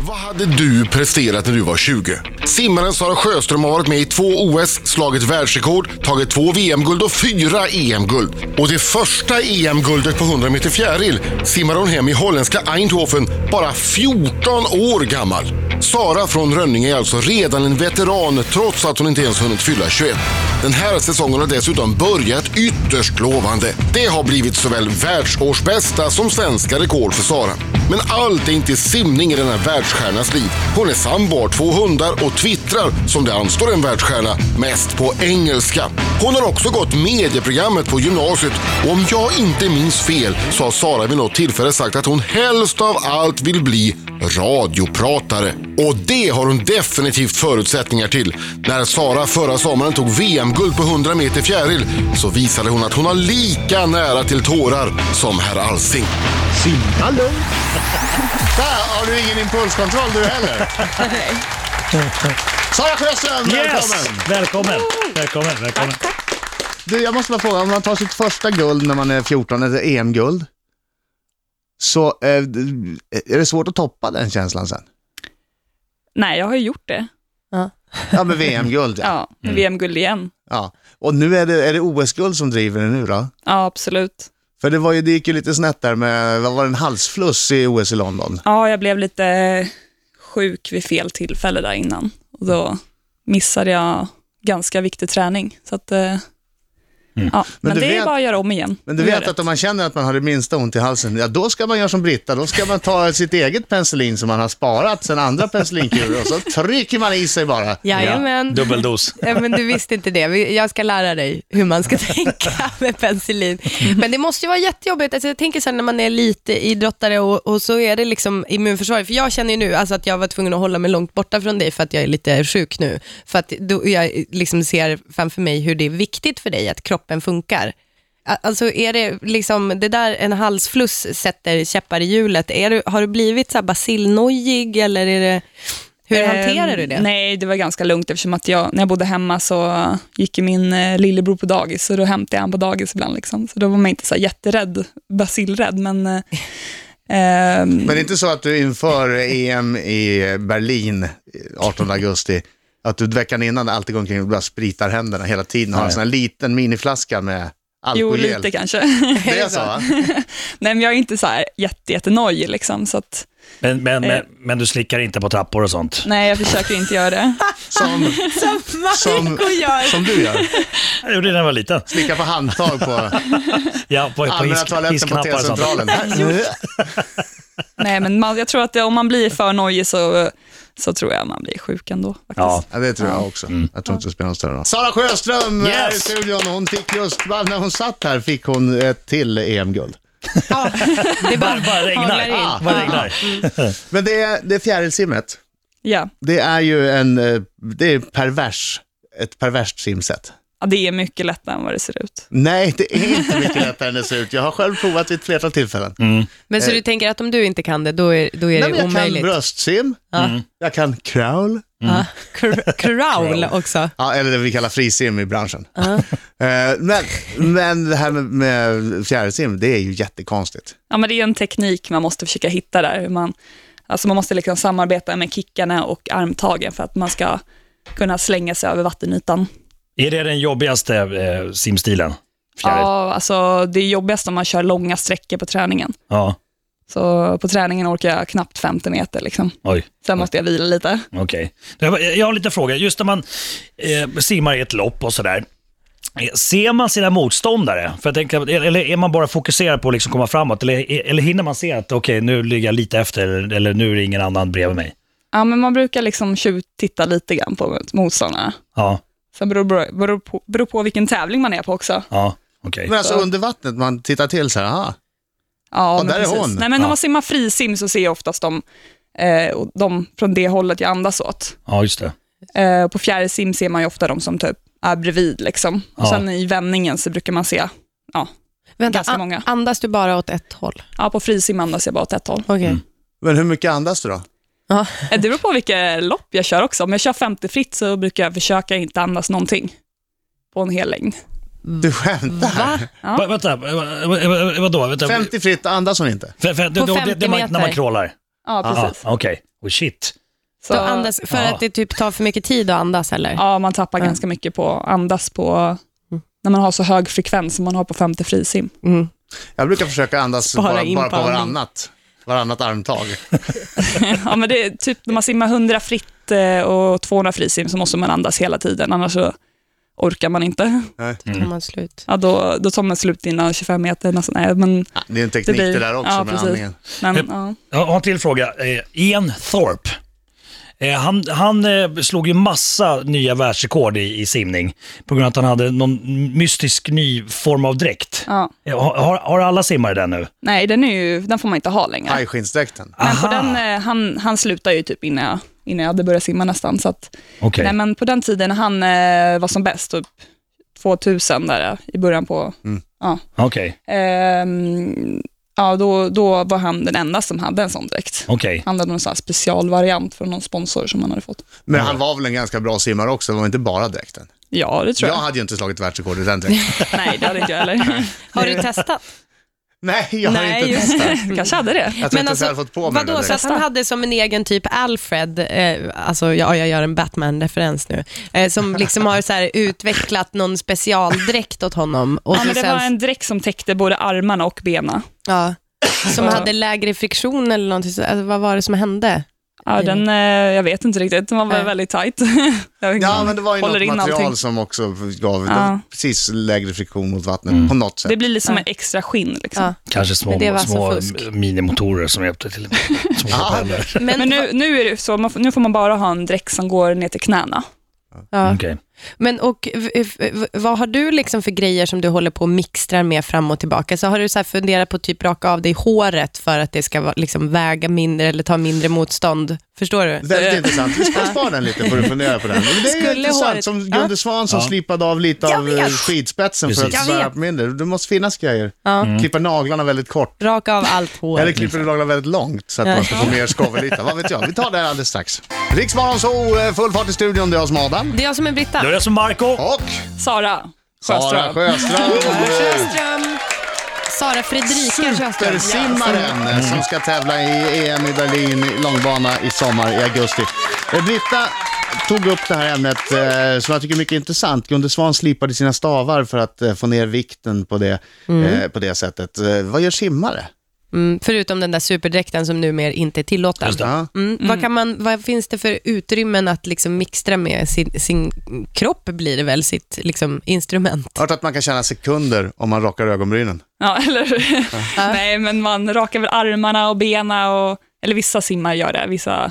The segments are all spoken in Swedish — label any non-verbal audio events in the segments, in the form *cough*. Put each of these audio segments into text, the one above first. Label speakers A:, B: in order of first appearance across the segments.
A: Vad hade du presterat när du var 20? Simmaren Sara Sjöström har varit med i två OS, slagit världsrekord, tagit två VM-guld och fyra EM-guld. Och det första EM-guldet på 100 meter fjäril simmar hon hem i holländska Eindhoven, bara 14 år gammal. Sara från Rönninge är alltså redan en veteran trots att hon inte ens hunnit fylla 21. Den här säsongen har dessutom börjat ytterst lovande. Det har blivit såväl världsårsbästa som svenska rekord för Sara. Men allt är inte simning i denna världsstjärnas liv. Hon är sambo, har två hundar och twittrar, som det anstår en världsstjärna, mest på engelska. Hon har också gått medieprogrammet på gymnasiet och om jag inte minns fel så har Sara vid något tillfälle sagt att hon helst av allt vill bli radiopratare. Och det har hon definitivt förutsättningar till. När Sara förra sommaren tog VM-guld på 100 meter fjäril så visade hon att hon har lika nära till tårar som herr Alsing.
B: Simma lugnt.
C: Där har du ingen impulskontroll du heller. Sara Sjöström,
B: Yes!
C: välkommen!
B: Välkommen, välkommen, välkommen.
C: Du, jag måste bara fråga, om man tar sitt första guld när man är 14, eller EM-guld, så eh, är det svårt att toppa den känslan sen?
D: Nej, jag har ju gjort det.
C: Ja, med VM-guld ja.
D: Ja, VM-guld igen.
C: *laughs* ja. Och nu är det, är det OS-guld som driver det nu då?
D: Ja, absolut.
C: För det, var ju, det gick ju lite snett där med, vad var det, en halsfluss i OS i London?
D: Ja, jag blev lite sjuk vid fel tillfälle där innan. Och då missade jag ganska viktig träning. Så att, eh, ja. Men,
C: Mm. du
D: det
C: vet-
D: är bara att göra om igen.
C: Men du
D: och göra
C: vet att
D: rätt.
C: om man känner att man har det minsta ont i halsen, ja då ska man göra som Britta, då ska man ta sitt eget penicillin som man har sparat sen andra penicillinkurer och så trycker man i sig bara.
E: Jajamän.
B: Dubbeldos.
E: Ja, men du visste inte det. Vi- Jag ska lära dig hur man ska *laughs* tänka med penicillin. Men det måste ju vara jättejobbigt. Alltså, jag tänker sen när man är lite idrottare och, och så är det liksom immunförsvaret. För jag känner ju nu alltså, att jag var tvungen att hålla mig långt borta från dig för att jag är lite sjuk nu. För att då, jag liksom ser framför mig hur det är viktigt för dig att kroppen funkar. A- Alltså är det liksom, det där en halsfluss sätter käppar i hjulet. Är du, har du blivit så här bacillnojig eller är det, hur hanterar du det?
D: Eh, Nej, det var ganska lugnt eftersom att jag, när jag bodde hemma så gick ju min eh, lillebror på dagis och då hämtade jag honom på dagis ibland. Liksom. Så då var man inte så här jätterädd, basilrädd, men... Eh, ehm,
C: Men det är inte så att du inför EM i Berlin eh, 18 augusti, att du veckan innan alltid går omkring och bara spritar händerna hela tiden och har en sån här liten miniflaska med
D: jo,
C: alkogel?
D: lite kanske.
C: Det är så? va?
D: nej, men jag är inte så här jätte, jättenojig liksom, så att
B: Men, men, men, men du slickar inte på trappor och sånt?
D: nej, jag försöker inte göra det.
C: Som,
D: *laughs*
E: Som Marco gör.
C: som du gör?
B: Jag gjorde det när jag var liten.
C: Slicka på handtag på
B: Ja, på, på
C: allmänna
B: hiss,
C: toaletten på
B: hissknappar och sånt.
C: T-centralen.
D: Nej, men man, jag tror att det, om man blir för nojig så, så tror jag man blir sjuk ändå. Faktiskt.
B: Ja,
C: Ja, det tror jag också. Jag tror inte det spelar någon större roll. Sara Sjöström
B: Yes!
C: är i studion. Hon fick just, när hon satt här fick hon ett till EM-guld.
E: Ja, det bara,
B: bara regnar.
E: haglar in.
B: Ah, bara regnar.
C: Men det är, det är fjärilsimmet.
D: Ja.
C: Det är ju en, eh, det är pervers, ett perverst simsätt.
D: ja, det är mycket lättare än vad det ser ut.
C: Nej, det är inte mycket lättare än det ser ut. Jag har själv provat vid ett flertal tillfällen.
E: Men så du tänker att om du inte kan det, då är, då Mm.
C: Nej,
E: är
C: men
E: det
C: jag kan
E: omöjligt? Ah.
C: bröstsim, Mm. jag kan crawl,
E: Ja. Cr- Crawl också.
C: ja, eller det vi kallar frisim i branschen. *laughs* Eh, Men, men det här med, med fjärilsim, det är ju jättekonstigt.
D: Ja, men det är en teknik man måste försöka hitta där. hur Man, alltså man måste liksom samarbeta med kickarna och armtagen för att man ska kunna slänga sig över vattenytan.
B: Är det den jobbigaste eh, simstilen? Fjäril.
D: Ja, alltså, det är jobbigast om man kör långa sträckor på träningen.
B: Ja.
D: Så på träningen orkar jag knappt 50 meter. Liksom.
B: Oj.
D: Sen måste jag vila lite.
B: Okej. Jag- Jag har lite frågor. Just när man eh, simmar i ett lopp och sådär. eh, Ser man sina motståndare? För jag tänker, eller är man bara fokuserad på att liksom komma framåt? Eller, eller hinner man se att okej, nu ligger jag lite efter eller, eller nu är det ingen annan bredvid mig?
D: Ja, men man brukar liksom tjuvtitta lite grann på motståndarna.
B: Ja,
D: Sen beror, beror, beror, på, beror på vilken tävling man är på också.
B: ja okej.
C: Men alltså under vattnet, man tittar till så här, aha,
D: Ja,
C: där är hon.
D: Nej, men
B: Ja.
D: om man simmar frisim så ser jag oftast dem, eh, och de från det hållet jag andas åt.
B: Ja, just det.
D: Eh, på fjärilsim ser man ju ofta de som typ är bredvid. Liksom. Och
B: Ja.
D: Sen i vändningen så brukar man se, ja,
E: Vänta,
D: Ganska
E: an-
D: många.
E: andas du bara åt ett håll? Mm.
D: ja på frisim andas jag bara åt ett håll.
E: Okej.
C: men hur mycket andas du då?
E: Ja.
D: Eh, Det beror på vilket lopp jag kör också. Om jag kör 50 fritt så brukar jag försöka inte andas någonting på en hel längd. Mm.
C: Du skämtar?
E: Va?
D: Ja.
B: Va, vänta, va, va, va, vadå? Vänta.
C: 50 fritt, andas hon inte?
B: F- f- det-
E: På
B: det- det-
E: 50
B: det- man- När man
E: meter.
B: crawlar?
D: Ja,
B: Ah,
D: precis.
B: Okej, oh, shit.
E: Då
D: Så,
E: andas, för
B: Ja.
E: att det typ tar för mycket tid att andas eller?
D: Ja, Mm. man tappar ganska mycket på andas på när man har så hög frekvens som man har på 50 frisim.
E: Mm.
C: Jag brukar försöka andas
E: Spara
C: bara,
E: in
C: bara
E: på
C: på
E: andning.
C: varannat. Varannat armtag.
D: *laughs* ja, men det är typ när man simmar 100 fritt eh, och 200 frisim så måste man andas hela tiden, annars så orkar man inte.
E: Tar man slut.
D: Ja, då, då tar man slut innan 25 meter. Nästan. Nej, men,
C: Ja, Det är en teknik det,
D: blir-
C: där också
D: ja,
C: med
D: precis.
C: andningen.
D: men,
B: Yep.
D: ja.
B: Jag har en till fråga. Eh, Ian Thorpe. Eh, han han eh, slog ju massa nya världsrekord i, i simning på grund av att han hade någon mystisk ny form av dräkt.
D: Ja.
B: Eh, har- har, har alla simmare den nu?
D: Nej, den, är ju, den får man inte ha längre.
C: Hajskinnsdräkten.
D: Men på
B: Aha.
D: den, eh, han, han slutade ju typ innan jag, innan jag hade börjat simma nästan. Så att,
B: Okej.
D: nej, men på den tiden när han eh, var som bäst, typ 2000 där eh, i början på... Ja,
B: Okej.
D: ehm, ja då, då var han den enda som hade en sån dräkt.
B: Okej.
D: Han hade någon sån här specialvariant från någon sponsor som han hade fått.
C: Men han var väl en ganska bra simmare också, det var inte bara dräkten.
D: Ja, det tror
C: Jag
D: jag.
C: hade ju inte slagit världsrekord i den dräkten.
D: *laughs* Nej, det hade inte jag heller.
E: Har du testat?
C: Nej, jag har
E: Nej,
C: inte
E: just
C: testat.
D: Du *laughs* kanske hade det. alltså,
C: Jag tror inte ens jag hade fått på mig den
E: *laughs* vadå,
C: där
E: så att han hade som en egen typ Alfred, eh, alltså ja, jag gör en Batman-referens nu, eh, som liksom har så här utvecklat någon specialdräkt åt honom. Och
D: Ja,
E: så
D: men det
E: sen,
D: var en dräkt som täckte både armarna och benen.
E: ja, som hade lägre friktion eller någonting, så, alltså, vad var det som hände?
D: Ja, den, eh, jag vet inte riktigt, den var
E: Nej.
D: väl väldigt tajt. *laughs* Jag
C: Ja, men det var ju
D: håller
C: något
D: in
C: material
D: allting.
C: som också gav
D: Ja. Mm.
C: det var precis lägre friktion mot vattnet på något sätt.
D: Det blir lite som en extra skinn. Liksom.
E: Ja.
B: Kanske små,
E: Men det var alltså
B: små
E: fusk.
B: m- minimotorer som hjälpte
E: *laughs*
B: till. Små propeller.
E: Men,
D: Men nu, nu, är det så, man får, nu får man bara ha en dräkt som går ner till knäna.
E: ja.
B: Okej.
E: men och, v- v- v- vad har du liksom för grejer som du håller på och mixtrar med fram och tillbaka? Så har du så här funderat på att typ raka av dig håret för att det ska vara- liksom väga mindre eller ta mindre motstånd? Förstår du?
C: Väldigt intressant. Vi ska spara den lite för att fundera på den. Men det är ju
E: Eh. Skulle
C: intressant,
E: håret-
C: som Gunde Svan som
B: Ja.
C: slipade av lite
E: Jag
C: av
E: vet.
C: eh, skidspetsen för
B: Precis. Mm.
C: att
E: Jag
C: svära
E: vet.
C: på mindre. Det måste finnas grejer. Klippa naglarna väldigt kort.
E: Raka av allt hår.
C: Eller klipper du naglarna väldigt långt så att man ska få mer skavelyta. Vad vet jag? Vi tar det här alldeles strax. Riksmorgon så eh, full fart i studion. Det är jag som Adam.
E: Det är jag som är Britta.
B: Då är det som Marco.
C: Och
D: Sara
C: Sara
D: Sjöström.
C: Sjöström.
E: Sjöström. Sara Fredrika Sjöström.
C: Supersimmaren eh, som ska tävla i EM i Berlin i långbana i sommar i augusti. Eh, Britta tog upp det här ämnet eh, som jag tycker är mycket intressant. Gunde Svan slipade sina stavar för att eh, få ner vikten på det, eh, på det sättet. Eh, vad gör simmare?
E: Mm, förutom den där superdräkten som numera inte är tillåten.
C: Ja.
E: Mm. Vad, kan man, vad finns det för utrymmen att liksom mixtra med sin, sin kropp, blir det väl, sitt liksom, instrument?
C: Hört att man kan tjäna sekunder om man rakar ögonbrynen.
D: Ja, *laughs* eller, nej, men man rakar väl armarna och benen. Och, eller vissa simmar gör det. Vissa,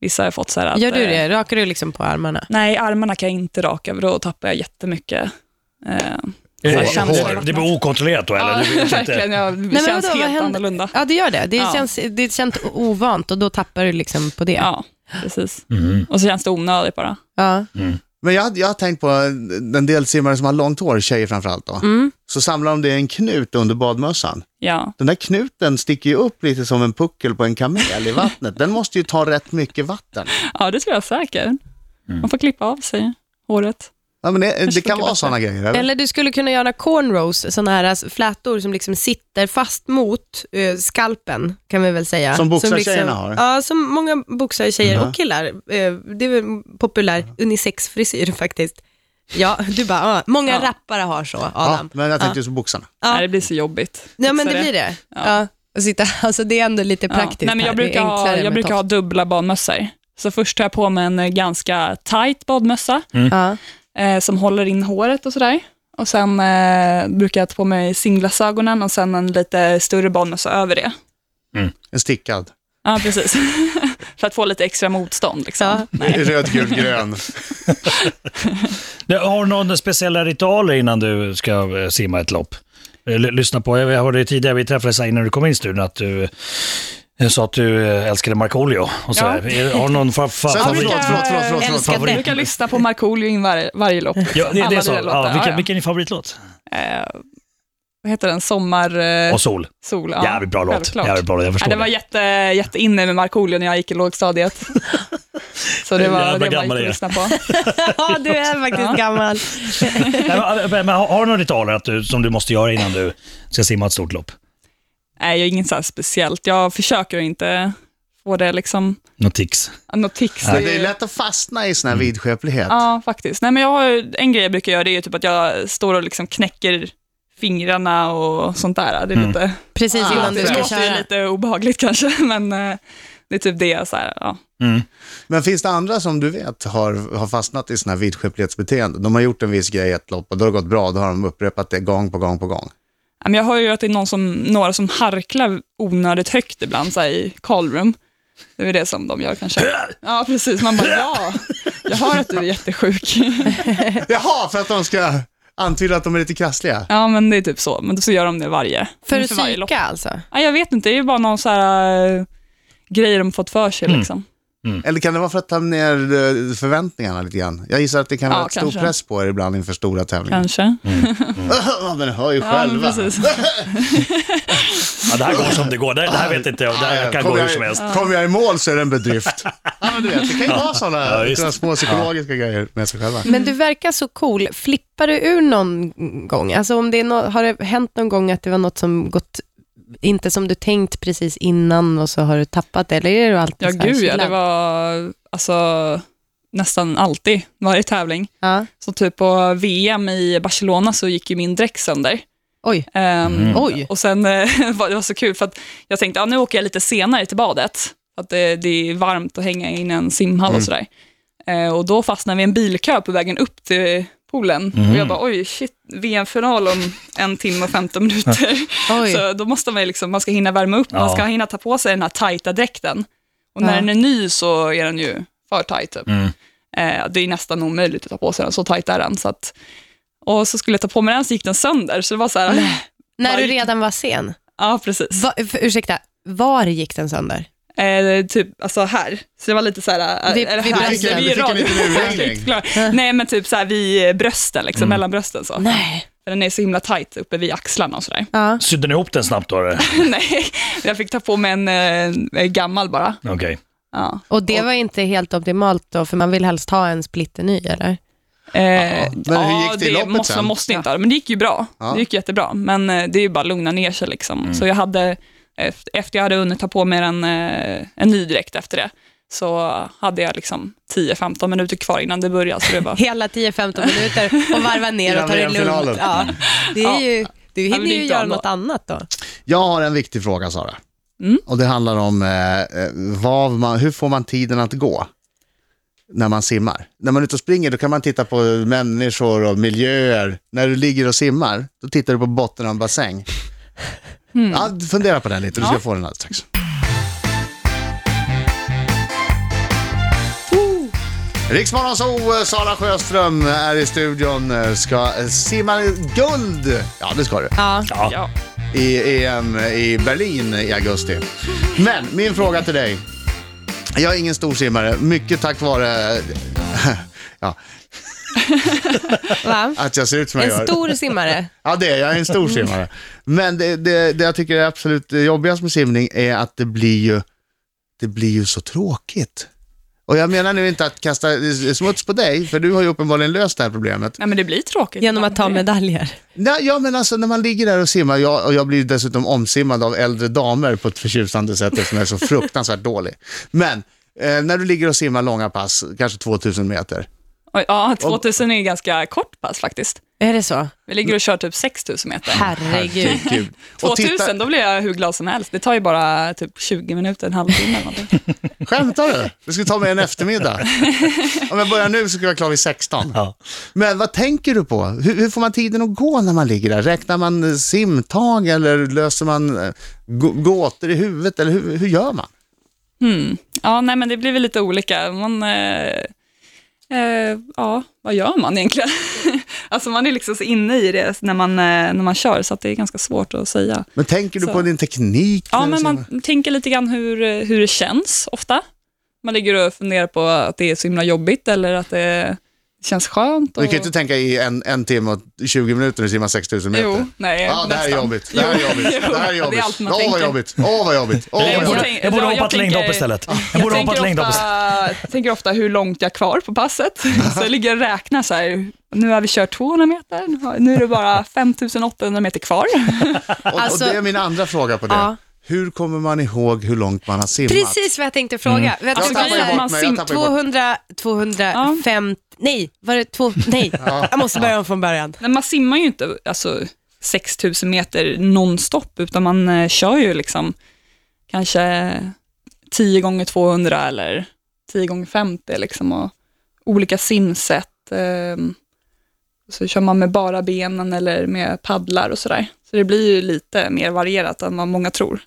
D: vissa har fått så här att...
E: Gör du
D: eh,
E: det? Rakar du liksom på armarna?
D: Nej, armarna kan jag inte raka, för då tappar jag jättemycket. Eh,
B: Eh,
C: Hår,
D: känns
C: hår.
B: Det, det blir okontrollerat då, eller?
D: ja,
B: Det blir
E: *laughs*
B: inte-
D: verkligen. Jag, det känns
E: vadå, vad
D: helt
E: händer?
D: annorlunda.
E: Ja, det gör det. Det,
D: Ja.
E: känns, det känns ovant och då tappar du liksom på det.
D: Ja, precis.
B: Mm.
D: Och så känns det onödigt bara.
E: Ja.
C: Men jag, jag har tänkt på en del simmare som har långt hår, tjejer framförallt då. Så samlar de det i en knut under badmössan.
D: Ja.
C: Den där knuten sticker ju upp lite som en puckel på en kamel i vattnet. Den måste ju ta rätt mycket vatten.
D: Ja, det tror jag säkert.
B: Mm.
D: Man får klippa av sig håret.
C: Ja, men det, det
D: Kanske
C: kan
D: mycket
C: vara
D: bättre.
C: sådana grejer. Eller?
E: Eller du skulle kunna göra cornrows, sådana här alltså, flätor som liksom sitter fast mot eh, skalpen, kan vi väl säga. liksom-
C: Som boxartjejerna har.
E: Ja, som många boxartjejer och killar. Eh, det är väl en populär unisexfrisyr faktiskt. Ja, du bara, ah. många
D: Ja.
E: rappare har så,
C: Ja,
E: Adam.
C: men jag tänkte just på boxarna.
E: Ja.
D: Nej, det blir så jobbigt.
E: Nej,
D: Fixa
E: men det blir det. Ja. Och sitta, *laughs* alltså det är ändå lite
D: Ja.
E: praktiskt.
D: Nej, men jag
E: här. Det är
D: brukar, ha,
E: enklare
D: jag
E: med
D: brukar ha
E: tofs.
D: dubbla badmössor. Så först tar jag på mig en eh, ganska tight badmössa
E: Ja.
D: eh, som håller in håret och sådär. Och sen eh, brukar jag ta på mig singlasögonen och sen en lite större badmössa över det.
C: En stickad.
D: Ja, precis. *laughs* För att få lite extra motstånd. Liksom.
E: Ja.
C: *laughs* Röd, gul, grön.
B: Det- Har du några speciella ritualer innan du ska eh, simma ett lopp? Eh, l- Lyssna på, jag hörde ju tidigare, vi träffades här innan du kom in i studion, att du eh, sa att du eh, älskade Markoolio och så
D: Ja.
B: här. Är- Har du någon fa- fa-
C: Så,
D: Ja,
C: förlåt,
B: favorit?
D: vilka-
C: förlåt, förlåt, förlåt, förlåt,
E: Älskar
D: Jag
C: favorit.
D: brukar lyssna på Markoolio in varje, varje lopp.
B: Ja, det, det
D: Alla
B: är så.
D: dina låtar,
B: Ja, vilken,
D: ja.
B: vilken är din favoritlåt?
D: Eh, vad heter den? Sommar... Eh,
B: Och Sol.
D: sol. Ja,
B: Jävligt bra låt.
D: självklart.
B: Jävligt bra låt, jag
D: Ja,
B: förstår
D: det var jätte, jätteinne med Markoolio när jag gick
B: *laughs*
D: i lågstadiet. Så det
B: Jävla
D: var det man
B: gammal
D: gick och
B: är.
D: lyssnade på.
E: ja, du är faktiskt gammal.
B: Nej, men- men har har du några ritualer att du, som du måste göra innan du ska simma ett stort lopp?
D: Nej, jag är inget så här speciellt. Jag försöker att inte få det liksom,
B: Något tics.
D: ja, något tics.
C: Men
D: ju-
C: det är Mm. lätt att fastna i sån här vidskeplighet.
D: Ja, faktiskt. Nej, men jag har, ju- en grej jag brukar göra det är ju typ att jag står och liksom knäcker fingrarna och sånt där. Det är lite,
E: Precis
C: Ah,
E: innan du
D: det
E: ska
D: låter ju
E: köra.
D: lite obehagligt *laughs* kanske, men eh, det är typ det jag så här, ja.
C: Men finns det andra som du vet har, har fastnat i sån här vidskeplighetsbeteende? De har gjort en viss grej i ett lopp och då har det gått bra, då har de upprepat det gång på gång på *laughs* gång.
D: Ja, men Jag hör ju att det är någon som, några som harklar onödigt högt ibland så här, i callroom. Det är väl det som de gör kanske. Ja, precis. Man bara, ja, jag hör att du är jättesjuk. *laughs*
C: Jaha, för att de ska antyda att de är lite krassliga.
D: Ja, men det är typ så. Men då så gör de det varje.
E: För att
D: inför varje lopp.
E: psyka alltså?
D: Ja, jag vet inte, det är ju bara någon så här eh, grej de fått för sig liksom.
C: Eller kan det vara för att ta ner eh, förväntningarna lite grann? Jag gissar att det kan
D: Ja,
C: vara stor
D: kanske.
C: press på er ibland inför stora tävlingar.
D: Kanske.
C: *laughs* Ja, men ni hör ju
D: Ja, men
C: själva.
D: precis.
B: Ja, det här går som det går. Det, det här vet inte jag. Det här kan gå
C: Kommer
B: hur
C: jag,
B: som helst.
C: Kommer jag i mål så är det en bedrift. ja, men du vet, det kan ju vara
B: Ja,
C: sådana
B: visst.
C: såna små psykologiska grejer med sig själva.
E: Men du verkar så cool. Flippar du ur någon gång? Alltså om det är nå- har det hänt någon gång att det var något som gått inte som du tänkt precis innan och så har du tappat det? Eller är du alltid
D: Ja,
E: så här
D: gud ja.
E: chillad?
D: Det var alltså, nästan alltid, varje tävling.
E: Ja.
D: Så typ på VM i Barcelona så gick ju min dräkt sönder.
E: Oj,
D: Ehm,
E: oj.
D: Och sen *laughs* eh, var det var så kul för att jag tänkte, ja, nu åker jag lite senare till badet. För att det, det är varmt att hänga in i en simhall och sådär. Eh, och då fastnade vi i en bilkö på vägen upp till poolen. Och jag bara, oj shit, VM-final om en timme och 15 minuter. *laughs*
E: Oj.
D: så då måste man ju liksom, man ska hinna värma upp, man
B: Ja.
D: ska hinna ta på sig den här tajta dräkten. Och när
E: Ja. Mm.
D: den är ny så är den ju för tajt typ. Eh, det är nästan omöjligt att ta på sig den, så tajt är den. Så att, och så skulle jag ta på mig den så gick den sönder, så det var så här,
E: När du
D: Varje-
E: redan var sen?
D: ja precis.
E: Va, för, ursäkta, var gick den sönder?
D: Eh, typ alltså här. Så det var lite så här... eh,
E: Vi-
D: eller
E: vi
D: här.
E: fick en-
D: vi
C: vi fick en
D: rad-
C: liten urringning.
D: Riktigt klar. Nej, men typ så här vid brösten, liksom, mellan brösten. Så.
E: Mm. Nej.
D: För Den är så himla tajt uppe vid axlarna och sådär. *laughs*
E: Ja.
B: Sydde ni ihop den snabbt då? eller?
D: Nej, jag fick ta på mig en, eh, en gammal bara.
B: Okej.
D: Ja.
E: Och det var inte helt optimalt då, för man vill helst ha en splitterny, eller?
D: Eh,
C: men hur gick det i loppet
D: måste,
C: sen?
D: Man måste inte ha det, men det gick ju bra. Det gick jättebra, men eh, det är ju bara att lugna ner sig. Liksom.
E: Mm.
D: Så jag hade, eft- efter jag hade hunnit ta på mig en, eh, en ny dräkt efter det, så hade jag liksom 10-15 minuter kvar innan det började. Så det var
E: Hela 10-15 minuter och varva ner och
C: Innan
E: ta det lugnt.
C: VM-finalen.
E: Ja. Det är
D: Ja.
E: ju, du
D: men
E: hinner
D: det är
E: ju
D: inte
E: göra
D: alla.
E: något annat då.
C: Jag har en viktig fråga, Sara. Och det handlar om eh, eh, vad man, hur får man tiden att gå när man simmar? När man är ute och springer då kan man titta på människor och miljöer. När du ligger och simmar, då tittar du på botten av en bassäng. Ja, fundera på den lite, du ska få den alldeles strax. Riksmorgon så Sara Sjöström är i studion, eh, ska eh, simma guld. Ja, det ska du
E: *laughs* Ja.
D: ja.
C: i EM i Berlin i augusti. Men min fråga till dig. Jag är ingen stor simmare, mycket tack vare *laughs* ja,
E: Va?
C: att jag ser ut som jag
E: En
C: gör.
E: stor Mm. simmare.
C: Ja, det är jag. Jag är en stor simmare. Men det, det, det jag tycker är absolut jobbigast med simning är att det blir ju, det blir ju så tråkigt. Och jag menar nu inte att kasta smuts på dig, för du har ju uppenbarligen löst det här problemet.
D: Nej, men det blir tråkigt.
E: *laughs* Genom att ta
D: Det-
E: medaljer.
C: Nej, ja, men alltså när man ligger där och simmar, jag, och jag blir ju dessutom omsimmad av äldre damer på ett förtjusande sätt eftersom jag är så fruktansvärt dålig. Men eh, när du ligger och simmar långa pass, kanske 2000 meter.
D: Oj, Ja, 2000 är ganska kort pass faktiskt.
E: Är det så?
D: Vi ligger och kör typ 6000 meter.
E: Herregud.
C: Gud. Och
D: 2000,
C: titta,
D: då blir jag hur glad som helst. Det tar ju bara typ 20 minuter, en halvtimme eller någonting.
C: skämtar du? Det skulle ta mig en eftermiddag.
D: *laughs*
C: Om jag börjar nu så skulle jag vara klar vid 16.
B: Ja.
C: Men vad tänker du på? Hur, hur får man tiden att gå när man ligger där? Räknar man eh, simtag eller löser man eh, gå- gåtor i huvudet? Eller hur, hur gör man?
D: Hmm. Ja, nej, men det blir väl lite olika. Man, eh, eh, ja, vad gör man egentligen? *laughs* alltså man är liksom så inne i det när man, eh, när man kör, så att det är ganska svårt att säga.
C: Men tänker du
D: Så.
C: på din teknik? Liksom?
D: Ja,
C: när du
D: men
C: simmar?
D: man tänker lite grann hur, eh, hur det känns ofta. Man ligger och funderar på att det är så himla jobbigt eller att det känns skönt.
C: Du kan ju
D: och-
C: inte tänka i en, en timme och 20 minuter när du simmar 6000 meter.
D: Jo, nej,
C: Ja, det här är
D: nästan.
C: jobbigt. Det här är
D: Jo,
C: jobbigt. Det här är
D: jo, det är
C: jobbigt.
D: allt man
C: Åh, vad
D: tänker.
C: jobbigt. Åh, vad jobbigt. Åh,
D: Nej,
C: vad
B: Jag
C: jobbigt.
B: borde,
D: tänker-
B: jag borde
D: jag
B: hoppat
D: tänker-
B: längdhopp istället. Jag borde hoppat längdhopp istället.
D: jag tänker ofta hur långt jag har kvar på passet. Så jag ligger och räknar så här, nu har vi kört 200 meter, nu har- nu är det bara 5800 meter kvar.
C: Och, och
E: Alltså-
C: det är min andra fråga på det.
E: Ja.
C: hur kommer man ihåg hur långt man har simmat?
E: Precis vad jag tänkte fråga. Vet
D: Jag
E: du,
D: tappar
E: så här,
D: ju bort
C: mig, jag tappar ju bort-
E: 200, 250, nej, var det två, nej, jag måste börja om från början.
D: Nej, man simmar ju inte alltså, 6000 meter nonstop, utan man eh, kör ju liksom kanske 10 gånger 200 eller 10 gånger 50 liksom, och olika simsätt. Eh, så kör man med bara benen eller med paddlar och sådär. Så det blir ju lite mer varierat än vad många tror.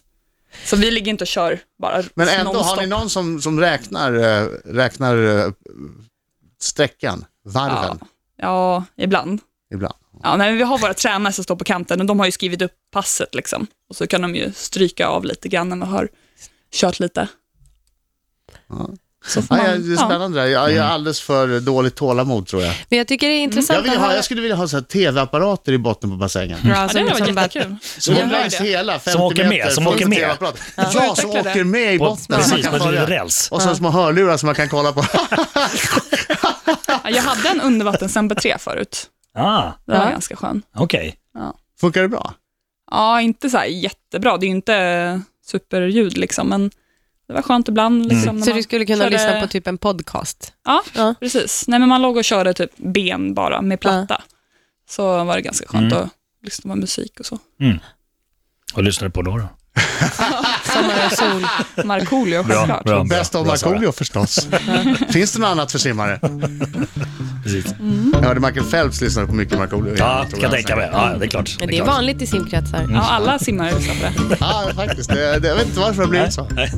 D: Så vi ligger inte och kör bara
C: Men ändå,
D: nonstop.
C: har ni någon som, som räknar, eh, räknar eh, sträckan, varven,
D: ja, ja, ibland.
C: ibland?
D: Ja, nej, men vi har våra tränare som står på kanten och de har ju skrivit upp passet liksom. Och så kan de ju stryka av lite grann när man har kört lite.
C: Ja.
D: Så får
C: Ja,
D: man,
C: ja, det är spännande. det där. Jag, jag är alldeles för dåligt tålamod tror jag.
E: Men jag tycker det Mm. är intressant
C: Jag, vill
E: att
C: ha,
E: höra.
C: jag skulle vilja ha så här tv-apparater i botten på bassängen.
E: Bra,
D: Ja, det
E: som,
D: hade
E: som
D: varit
E: bara-
D: jättekul.
C: Som
D: Ja.
C: längs hela 50
B: åker med,
C: meter
B: som
C: fullt
B: åker med.
C: TV-apparat. Ja, som
D: utveckla det.
C: åker med i
B: På,
C: botten. som man
B: precis,
C: kan
B: på en
C: följa.
B: liten räls.
C: Och så små hörlurar som man kan kolla på.
D: Ja, jag hade en undervattensmp3 förut.
B: Ah,
D: Den var
E: Ja.
D: ganska skön.
B: okej.
C: *laughs* Funkar det bra?
D: Ja, inte så här jättebra. Det är ju inte superljud liksom, men det var skönt ibland.
C: Mm.
D: Liksom, när
E: Så
D: man
E: du skulle kunna
D: körde-
E: lyssna på typ en podcast?
D: Ja,
E: Ja.
D: precis. Nej, men man låg och körde typ ben bara med platta. Så var det ganska skönt
C: Mm.
D: att lyssna på musik och så.
B: Vad lyssnar du på då? då?
D: *laughs*
E: Sommar och sol.
D: Markoolio, självklart.
C: Bäst av
B: bra, Sara.
C: Markoolio *laughs* förstås. Finns det något annat för simmare?
B: Precis.
C: Jag hörde Michael Phelps lyssnade på mycket Markoolio.
B: Ja,
C: tror
B: kan jag tänka mig. Ja, det är klart.
E: Men
B: är
E: det är
B: klart.
E: vanligt i simkretsar.
D: Ja, alla simmar lyssnar på det.
C: Ja, faktiskt. Det, det, jag vet inte varför det har blivit så.
B: Nej.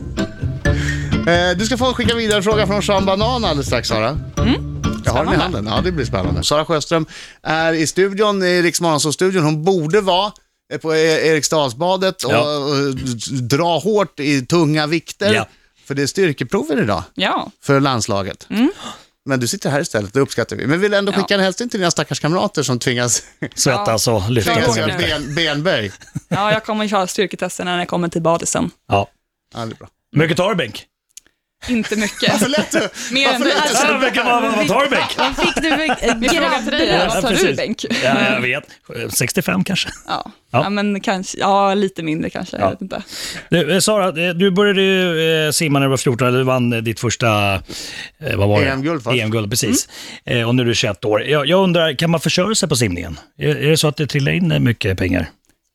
C: Eh, Du ska få skicka vidare en fråga från Sean Banan alldeles strax, Sara. Jag har den i
D: Mm. Spännande.
C: handen. Ja, det blir spännande. Sara Sjöström är i studion, i Rix studion Hon borde vara eh, på E- Eriksdalsbadet och,
B: Ja.
C: och dra hårt i tunga vikter.
B: Ja.
C: För det är styrkeprover idag
D: Ja,
C: för landslaget. Men du sitter här istället, det uppskattar vi. Men vill ändå skicka
D: Mm. Ja.
C: en hälsning till dina stackars kamrater som tvingas,
B: Svettas och lyftas.
C: tvingas
D: Ja.
C: göra ben, benböj.
D: ja jag kommer köra styrketesten när jag kommer till badisen.
B: Ja.
C: Ja, det är bra.
B: mycket tar du Bengt?
D: Inte mycket.
C: Varför lät du?
D: Mer än du.
E: Alltså,
B: Ja, mycket- vad- vad vad tar du
E: *laughs*
B: Bengt?
E: Vad fick du för
D: Min fråga till dig är,
E: grabb?
B: Ja,
D: vad tar du
B: precis.
D: Bengt?
B: Ja, jag vet. 65 kanske.
D: Ja.
B: Ja.
D: Ja. men kanske, ja lite mindre kanske,
B: Ja.
D: jag vet inte.
B: Du, eh, Sara, eh, du började ju eh, simma när du var 14, eller du vann eh, ditt första eh, vad var det?
C: EM-guld först.
B: EM-guld, precis. Eh, och nu är du 21 år. Jag, jag undrar, kan man försörja sig på simningen? Är, är det så att det trillar in eh, mycket pengar?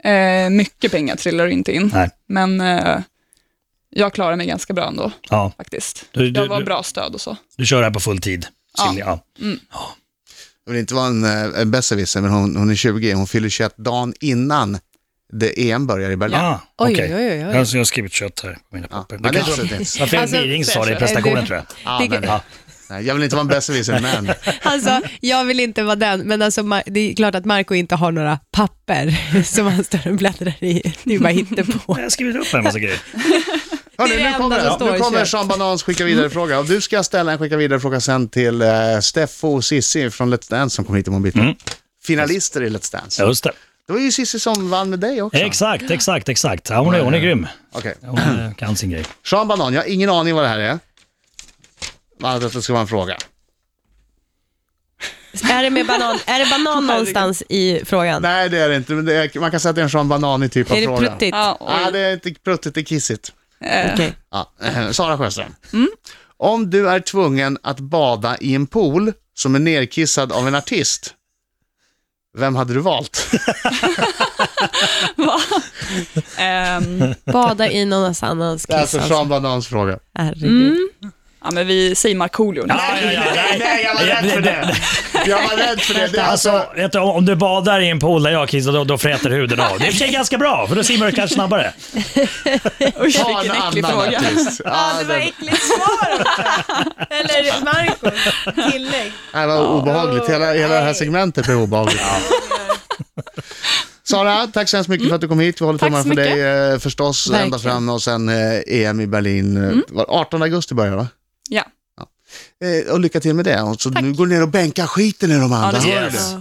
D: Eh, mycket pengar trillar inte in,
B: Nej.
D: men eh, jag klarar mig ganska bra ändå
B: Ja,
D: faktiskt.
B: Du- du-
D: jag var
B: du-
D: bra stöd och så.
B: du kör det här på full tid.
D: Ja.
B: Simning, ja.
C: Jag vill inte vara en, eh, en besserwisser, men hon, hon är 20. Hon fyller 21 dagen innan det EM börjar i Berlin.
B: Ah,
E: Oj,
B: okej.
E: oj, oj, oj.
B: Alltså, jag har skrivit kött här på mina
C: Ja,
B: papper.
C: men
B: Det
C: det
B: kanske
C: är inte-
B: var Fredrik
E: Alltså,
B: Niring som sa det i
D: det är du.
B: prestationen, tror jag.
C: Ja,
E: Det-
C: men,
B: Ja.
C: nej, jag vill inte vara en besserwisser, men
E: Alltså, jag vill inte vara den, men alltså, Ma- det är klart att Marco inte har några papper *laughs* som han står och bläddrar i. Det är ju bara hittepå.
C: *laughs*
B: Jag har skrivit upp en massa grejer.
C: Hörrni,
E: Det är
C: nu
E: det
C: kommer,
E: enda
C: det.
E: som E står
C: nu
E: i
C: kommer
E: köket.
C: Sean Banans skicka vidare-fråga. Och du ska ställa en skicka vidare-fråga sen till eh, Steffo och Sissi från Let's Dance som kom hit i mobilen. Finalister i Let's Dance.
B: Ja, Just det.
C: Det var ju Sissi som vann med dig också.
B: Exakt, exakt, exakt. Ja, hon, är, hon är grym.
C: Okej.
B: Hon eh, kan sin grej.
C: Sean Banan, jag har ingen aning vad det här är. Annat än att det ska vara en fråga.
E: Är det, med banan, är det banan någonstans i frågan?
C: Nej, det är det inte. Men det är, man kan säga att det är en Sean Bananig typ av
E: Är det
C: fråga.
E: pruttigt?
D: Ja, oj.
C: Nej, det är inte pruttigt, det är kissigt.
D: Eh,
E: Okej.
C: Ja, Sara Sjöström. Om du är tvungen att bada i en pool som är nerkissad av en artist, vem hade du valt?
D: *laughs* ehm,
E: Bada i någon annans
C: *laughs* Det är alltså
E: kiss.
C: Sean Banans fråga.
E: Herregud.
D: ja, men vi säger Markoolio nu.
B: Ja, ja, ja, nej.
C: jag
B: var rädd för det.
C: Jag var rädd för det.
B: Alltså, vet du, om du badar i en pool där jag kissar, då, då fräter huden av. Det är i och för sig ganska bra, för då simmar du kanske snabbare.
D: Usch, vilken äcklig fråga.
C: artist. Ja, det
E: äckligt svar
C: *laughs*
E: Eller Marco, tillägg.
C: det var obehagligt. Hela, hela det här segmentet är obehagligt. Sara, tack så hemskt mycket för att du kom hit. Vi håller
D: Tack så
C: tummarna för dig eh, förstås ända
E: Verkligen.
C: fram och sen eh, EM i Berlin. eh, Var 18 augusti börjar va?
D: Ja.
C: Eh, och lycka till med det. Och så nu går du ner och bänkar skiten i de andra.
D: det
C: Hör
B: yes.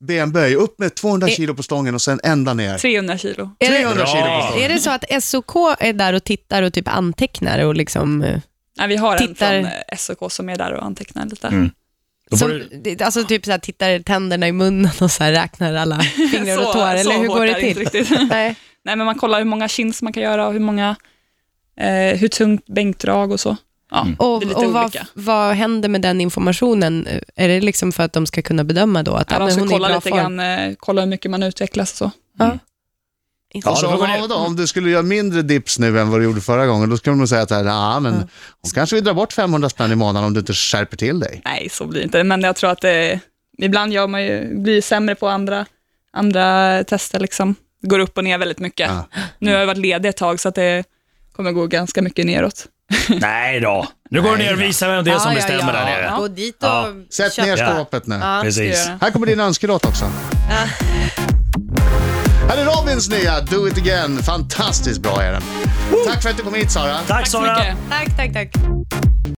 C: du? Benböj, upp med 200 kilo på stången och sen ända ner.
D: 300 kilo.
E: Är det,
C: 300
B: Bra.
C: kilo på
E: är
C: stången.
E: det så att SOK är där och tittar och typ antecknar och liksom... eh,
D: Nej, vi har
E: Tittar- Mm.
D: en från eh, SOK som är där och antecknar lite. *laughs*
B: Då får
E: Som,
B: du,
E: det- Alltså typ så här, tittar tänderna i munnen och så här, räknar alla fingrar och
D: *laughs* Så-
E: tår, eller
D: så
E: hur
D: hårt är
E: går det till?
D: inte riktigt. *laughs*
E: *laughs* Nej.
D: Nej, men man kollar hur många chins man kan göra och hur många, eh, hur tungt bänkdrag och så. Ja,
E: Och,
D: det är lite
E: och vad,
D: olika.
E: vad händer med den informationen? Är det liksom för att de ska kunna bedöma då att
D: Ja,
E: ja,
D: de
E: men
D: ska
E: hon är i
D: kolla
E: bra
D: lite
E: form?
D: grann, eh, kolla hur mycket man utvecklas och så.
B: Ja,
C: Och så,
B: det var
C: ja,
B: det.
C: vadå, om du skulle göra mindre dips nu än vad du gjorde förra gången, då skulle man säga att ja, men hon kanske vill dra bort 500 spänn i månaden om du inte skärper till dig.
D: Nej, så blir det inte, men jag tror att det, ibland gör man ju, blir ju sämre på andra, andra tester. Liksom. Det går upp och ner väldigt mycket.
E: Ah.
C: Ja.
D: Nu har jag varit ledig ett tag, så att det kommer gå ganska mycket neråt.
B: Nej då. Nu går du ner och visar vem det är som
E: Ja,
B: bestämmer
E: ja, ja.
B: där nere.
E: Gå dit och
B: Ja.
C: Sätt
E: köp-
C: ner
B: Ja.
C: skåpet nu.
E: Ja.
B: Precis.
D: Ska jag
C: Här kommer din önskelåt också. Här är Robins nya Do It Again. Fantastiskt bra är den. Tack för att du kom hit Sara.
B: Tack
D: så
B: Sara.
D: mycket.
E: Tack, tack, tack.